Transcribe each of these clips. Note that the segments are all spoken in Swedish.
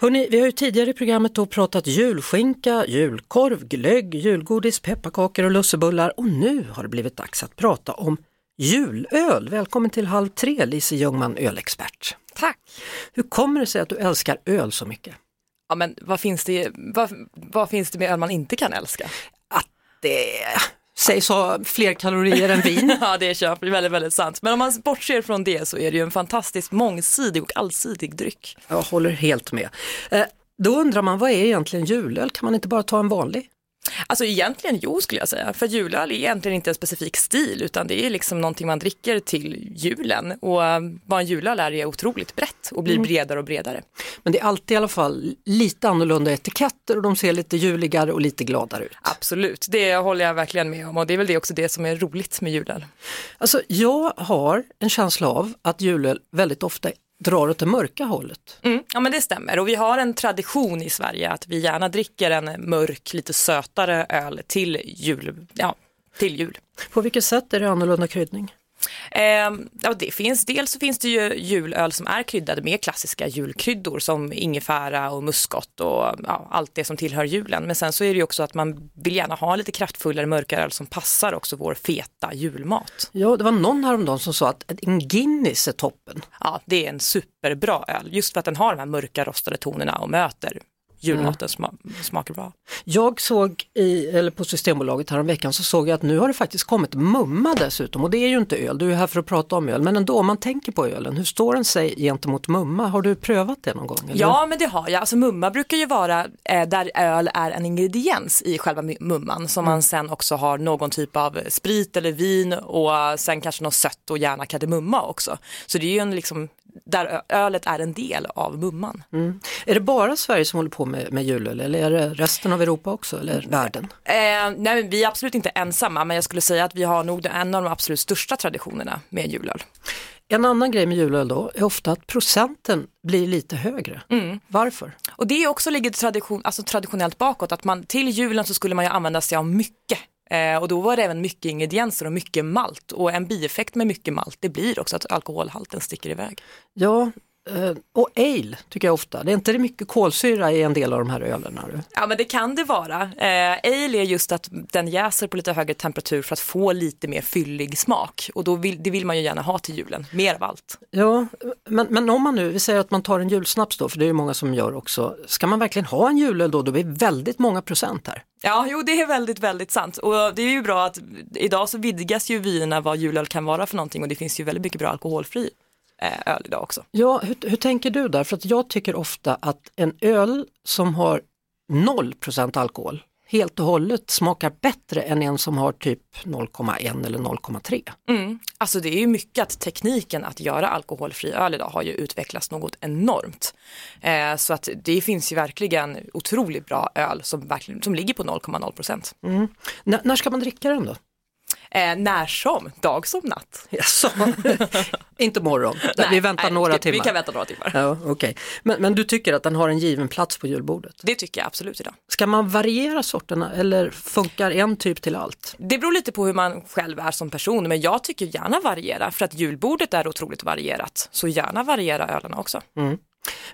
Hörrni, vi har ju tidigare i programmet då pratat julskinka, julkorv, glögg, julgodis, pepparkakor och lussebullar och nu har det blivit dags att prata om julöl. Välkommen till Halv tre, Lise Ljungman, ölexpert. Tack. Hur kommer det sig att du älskar öl så mycket? Ja, men vad finns, det, vad, vad finns det med öl man inte kan älska? Att det sägs ha fler kalorier än vin. ja, det är köper, väldigt, väldigt sant. Men om man bortser från det så är det ju en fantastiskt mångsidig och allsidig dryck. Jag håller helt med. Eh, Då undrar man, vad är egentligen julöl? Kan man inte bara ta en vanlig? Alltså egentligen jo skulle jag säga, för julöl är egentligen inte en specifik stil utan det är liksom någonting man dricker till julen och eh, vad en julöl är är otroligt brett och blir bredare och bredare. Men det är alltid i alla fall lite annorlunda etiketter och de ser lite juligare och lite gladare ut. Absolut, det håller jag verkligen med om och det är väl det också det som är roligt med julöl. Alltså, jag har en känsla av att julöl väldigt ofta drar åt det mörka hållet. Mm, ja men det stämmer och vi har en tradition i Sverige att vi gärna dricker en mörk, lite sötare öl till jul. Ja, till jul. På vilket sätt är det annorlunda kryddning? Ehm, ja, det finns, dels så finns det ju julöl som är kryddade med klassiska julkryddor som ingefära och muskot och ja, allt det som tillhör julen. Men sen så är det ju också att man vill gärna ha lite kraftfullare mörka öl som passar också vår feta julmat. Ja, det var någon häromdagen som sa att en Guinness är toppen. Ja, det är en superbra öl just för att den har de här mörka rostade tonerna och möter julmatens sma- smaker bra. Jag såg i, eller på Systembolaget häromveckan så såg jag att nu har det faktiskt kommit mumma dessutom och det är ju inte öl, du är ju här för att prata om öl, men ändå om man tänker på ölen, hur står den sig gentemot mumma? Har du prövat det någon gång? eller? Ja men det har jag, alltså mumma brukar ju vara eh, där öl är en ingrediens i själva mu- mumman som man sen också har någon typ av sprit eller vin och eh, sen kanske något sött och gärna kardemumma också. Så det är ju en liksom, där ö- ölet är en del av mumman. Mm. Är det bara Sverige som håller på med, med julöl eller är det resten av Europa också eller världen? Eh, nej men vi är absolut inte ensamma men jag skulle säga att vi har nog en av de absolut största traditionerna med julöl. En annan grej med julöl då är ofta att procenten blir lite högre. Varför? Och det är också ligger tradition, alltså traditionellt bakåt att man till julen så skulle man ju använda sig av mycket eh, och då var det även mycket ingredienser och mycket malt och en bieffekt med mycket malt det blir också att alkoholhalten sticker iväg. Ja, eh, och ale tycker jag ofta. Det är inte det mycket kolsyra i en del av de här ölerna. du? Ja men det kan det vara. Eh, ale är just att den jäser på lite högre temperatur för att få lite mer fyllig smak och då vill, det vill man ju gärna ha till julen, mer av allt. Ja, men, men om man nu, vi säger att man tar en julsnaps då, för det är ju många som gör också. Ska man verkligen ha en julöl då? Då blir det väldigt många procent här. Ja, jo det är väldigt, väldigt sant. Och det är ju bra att idag så vidgas ju vyerna vad julöl kan vara för någonting och det finns ju väldigt mycket bra alkoholfri eh, öl idag också. Ja, hur, hur tänker du där? För att jag tycker ofta att en öl som har 0% alkohol helt och hållet smakar bättre än en som har typ 0,1 eller 0,3. Mm. Alltså det är ju mycket att tekniken att göra alkoholfri öl idag har ju utvecklats något enormt. Eh, så att det finns ju verkligen otroligt bra öl som, verkligen, som ligger på 0,0 procent. Mm. N- när ska man dricka den då? Eh, när som, dag som natt. Jaså? Inte morgon, vi Nej, väntar nej, några vi, timmar. Vi kan vänta några timmar. Ja, okej. men, men du tycker att den har en given plats på julbordet? Det tycker jag absolut idag. Ska man variera sorterna eller funkar en typ till allt? Det beror lite på hur man själv är som person men jag tycker gärna variera för att julbordet är otroligt varierat. Så gärna variera ölen också. Mm.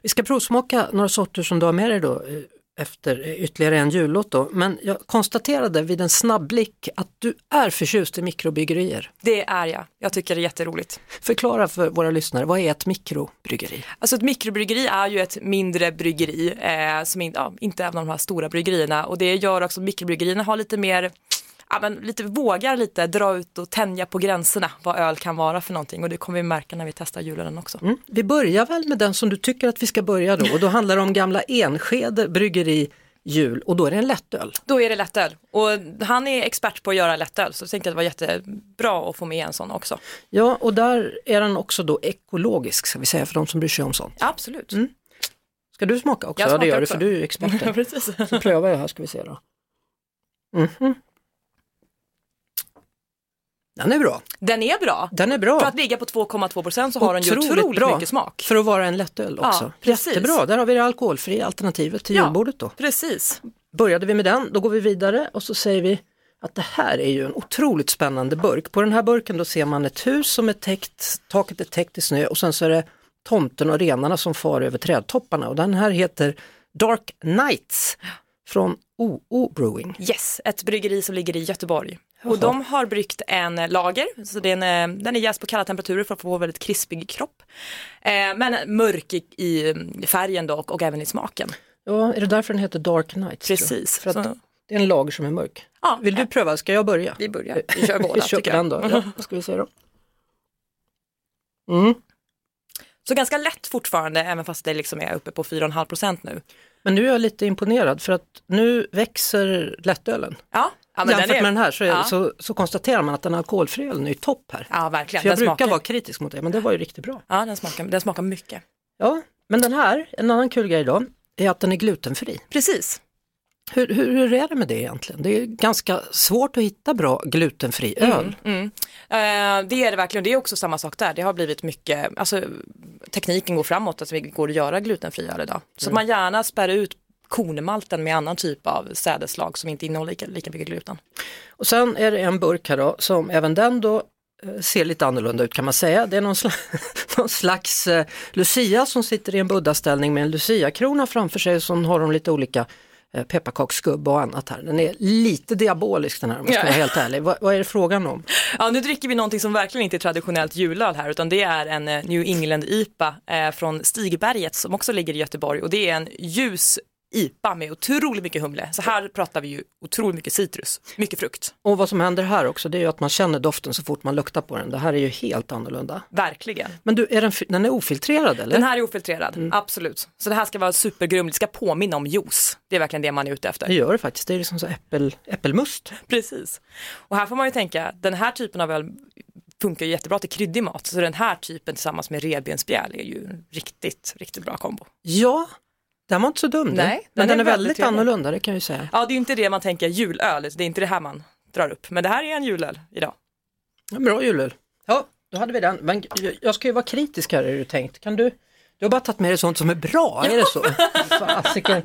Vi ska provsmaka några sorter som du har med dig då eh, efter eh, ytterligare en jullåt då. Men jag konstaterade vid en snabb blick att du är förtjust i mikrobryggerier. Det är jag. Jag tycker det är jätteroligt. Förklara för våra lyssnare, vad är ett mikrobryggeri? Alltså ett mikrobryggeri är ju ett mindre bryggeri eh, som in, ja, inte är av de här stora bryggerierna och det gör också att mikrobryggerierna har lite mer Ja, men lite, vågar lite dra ut och tänja på gränserna vad öl kan vara för någonting och det kommer vi märka när vi testar julen också. Mm. Vi börjar väl med den som du tycker att vi ska börja då och då handlar det om gamla Enskede bryggeri jul och då är det en lättöl. Då är det lättöl och han är expert på att göra lättöl så jag tänkte att det var jättebra att få med en sån också. Ja och där är den också då ekologisk ska vi säga för de som bryr sig om sånt. Absolut. Ska du smaka också? Jag ja, det smakar gör du också. för du är ju experten. Precis. Så prövar jag här ska vi se då. Mhm. Den är bra. Den är bra. Den är bra. För att ligga på 2,2 procent så har den ju otroligt mycket smak. För att vara en lättöl Ja, också. precis. Jättebra, där har vi det alkoholfria alternativet till Ja. julbordet då. Precis. Började vi med den, då går vi vidare och så säger vi att det här är ju en otroligt spännande burk. På den här burken då ser man ett hus som är täckt, taket är täckt i snö och sen så är det tomten och renarna som far över trädtopparna och den här heter Dark Knights från OO Brewing. Yes, ett bryggeri som ligger i Göteborg. Och de har bryggt en eh, lager, så den, eh, den är jäst på kalla temperaturer för att få en väldigt krispig kropp. Eh, men mörk i, i mm, färgen då och, och även i smaken. Ja, är det därför den heter Dark Knights? tror jag? Precis. För att Så- det är en lager som är mörk. Ja, Vill du pröva? Ska jag börja? Vi börjar, vi kör båda vi kör tycker på den jag. då. Ja, vad ska vi säga då? Mm. Så ganska lätt fortfarande, även fast det liksom är uppe på 4,5 procent nu. Men nu är jag lite imponerad för att nu växer lättölen. Ja, ja Jämfört med den här så, är, ja. så, så konstaterar man att den alkoholfria ölen är i topp här. Ja, verkligen. För jag den, brukar smakar, vara kritisk mot det, men det var ju riktigt bra. ja, den, smakar, den smakar mycket. Ja, men den här, en annan kul grej då, är att den är glutenfri. Precis. Hur, hur, hur är det med det egentligen? Det är ganska svårt att hitta bra glutenfri öl. Eh, det är det verkligen. Det är också samma sak där. Det har blivit mycket, alltså tekniken går framåt, att det går att göra glutenfri öl idag. Så man gärna spär ut kornmalten med annan typ av sädeslag som inte innehåller lika, lika mycket gluten. Och sen är det en burk här då, som även den då eh, ser lite annorlunda ut kan man säga. Det är någon slags, någon slags eh, Lucia som sitter i en buddhaställning med en luciakrona framför sig och så har de lite olika eh, pepparkaksskubbe och annat här. Den är lite diabolisk den här om jag ska Ja. vara helt ärlig. Vad, vad är det frågan om? Ja, nu dricker vi någonting som verkligen inte är traditionellt julöl här utan det är en eh, New England-IPA eh, från Stigberget som också ligger i Göteborg och det är en ljus IPA med otroligt mycket humle. Så här pratar vi ju otroligt mycket citrus, mycket frukt, Och vad som händer här också det är ju att man känner doften så fort man luktar på den. Det här är ju helt annorlunda. verkligen. Men du, är den, fi- den är ofiltrerad eller? Den här är ofiltrerad, absolut. Så det här ska vara supergrumligt, det ska påminna om juice. Det är verkligen det man är ute Det efter. gör det faktiskt, det är liksom så äppel, äppelmust. Precis. Och här får man ju tänka, den här typen av öl funkar ju jättebra till kryddig mat. Så den här typen tillsammans med revbensspjäll är ju en riktigt, riktigt bra kombo. Ja, den var inte så dum. du. Nej, men den den är är väldigt väldigt trevlig. annorlunda, det kan jag ju säga. Ja, det är ju inte det man tänker julöl, det är inte det här man drar upp. Men det här är en julöl idag. Ja, Bra julöl. Ja, då hade vi den. Men jag- jag ska ju vara kritisk här, är du tänkt. Kan du? Du har bara tagit med dig sånt som är bra, är det så? Fasiken,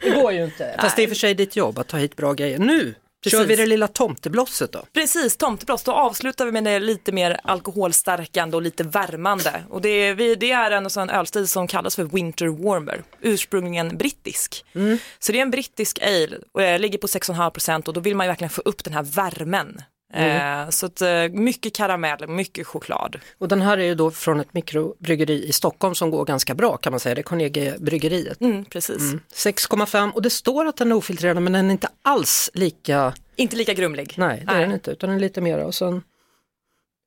det går ju inte. Fast det är i och för sig ditt jobb att ta hit bra grejer. Nu kör Precis. vi det lilla tomteblosset då. Precis, tomtebloss. Då avslutar vi med det lite mer alkoholstärkande och lite värmande. Och det är, vi, det är en, sån ölstil som kallas för Winter Warmer, ursprungligen brittisk. Mm. Så det är en brittisk ale och eh, ligger på 6,5 procent och då vill man ju verkligen få upp den här värmen. Mm. Eh, så att, eh, mycket karamell, mycket choklad. Och den här är ju då från ett mikrobryggeri i Stockholm som går ganska bra kan man säga, det är Carnegiebryggeriet. Mm, precis. 6,5 och det står att den är ofiltrerad men den är inte alls lika Inte lika grumlig. Nej, det är den inte, utan den är lite mera och sen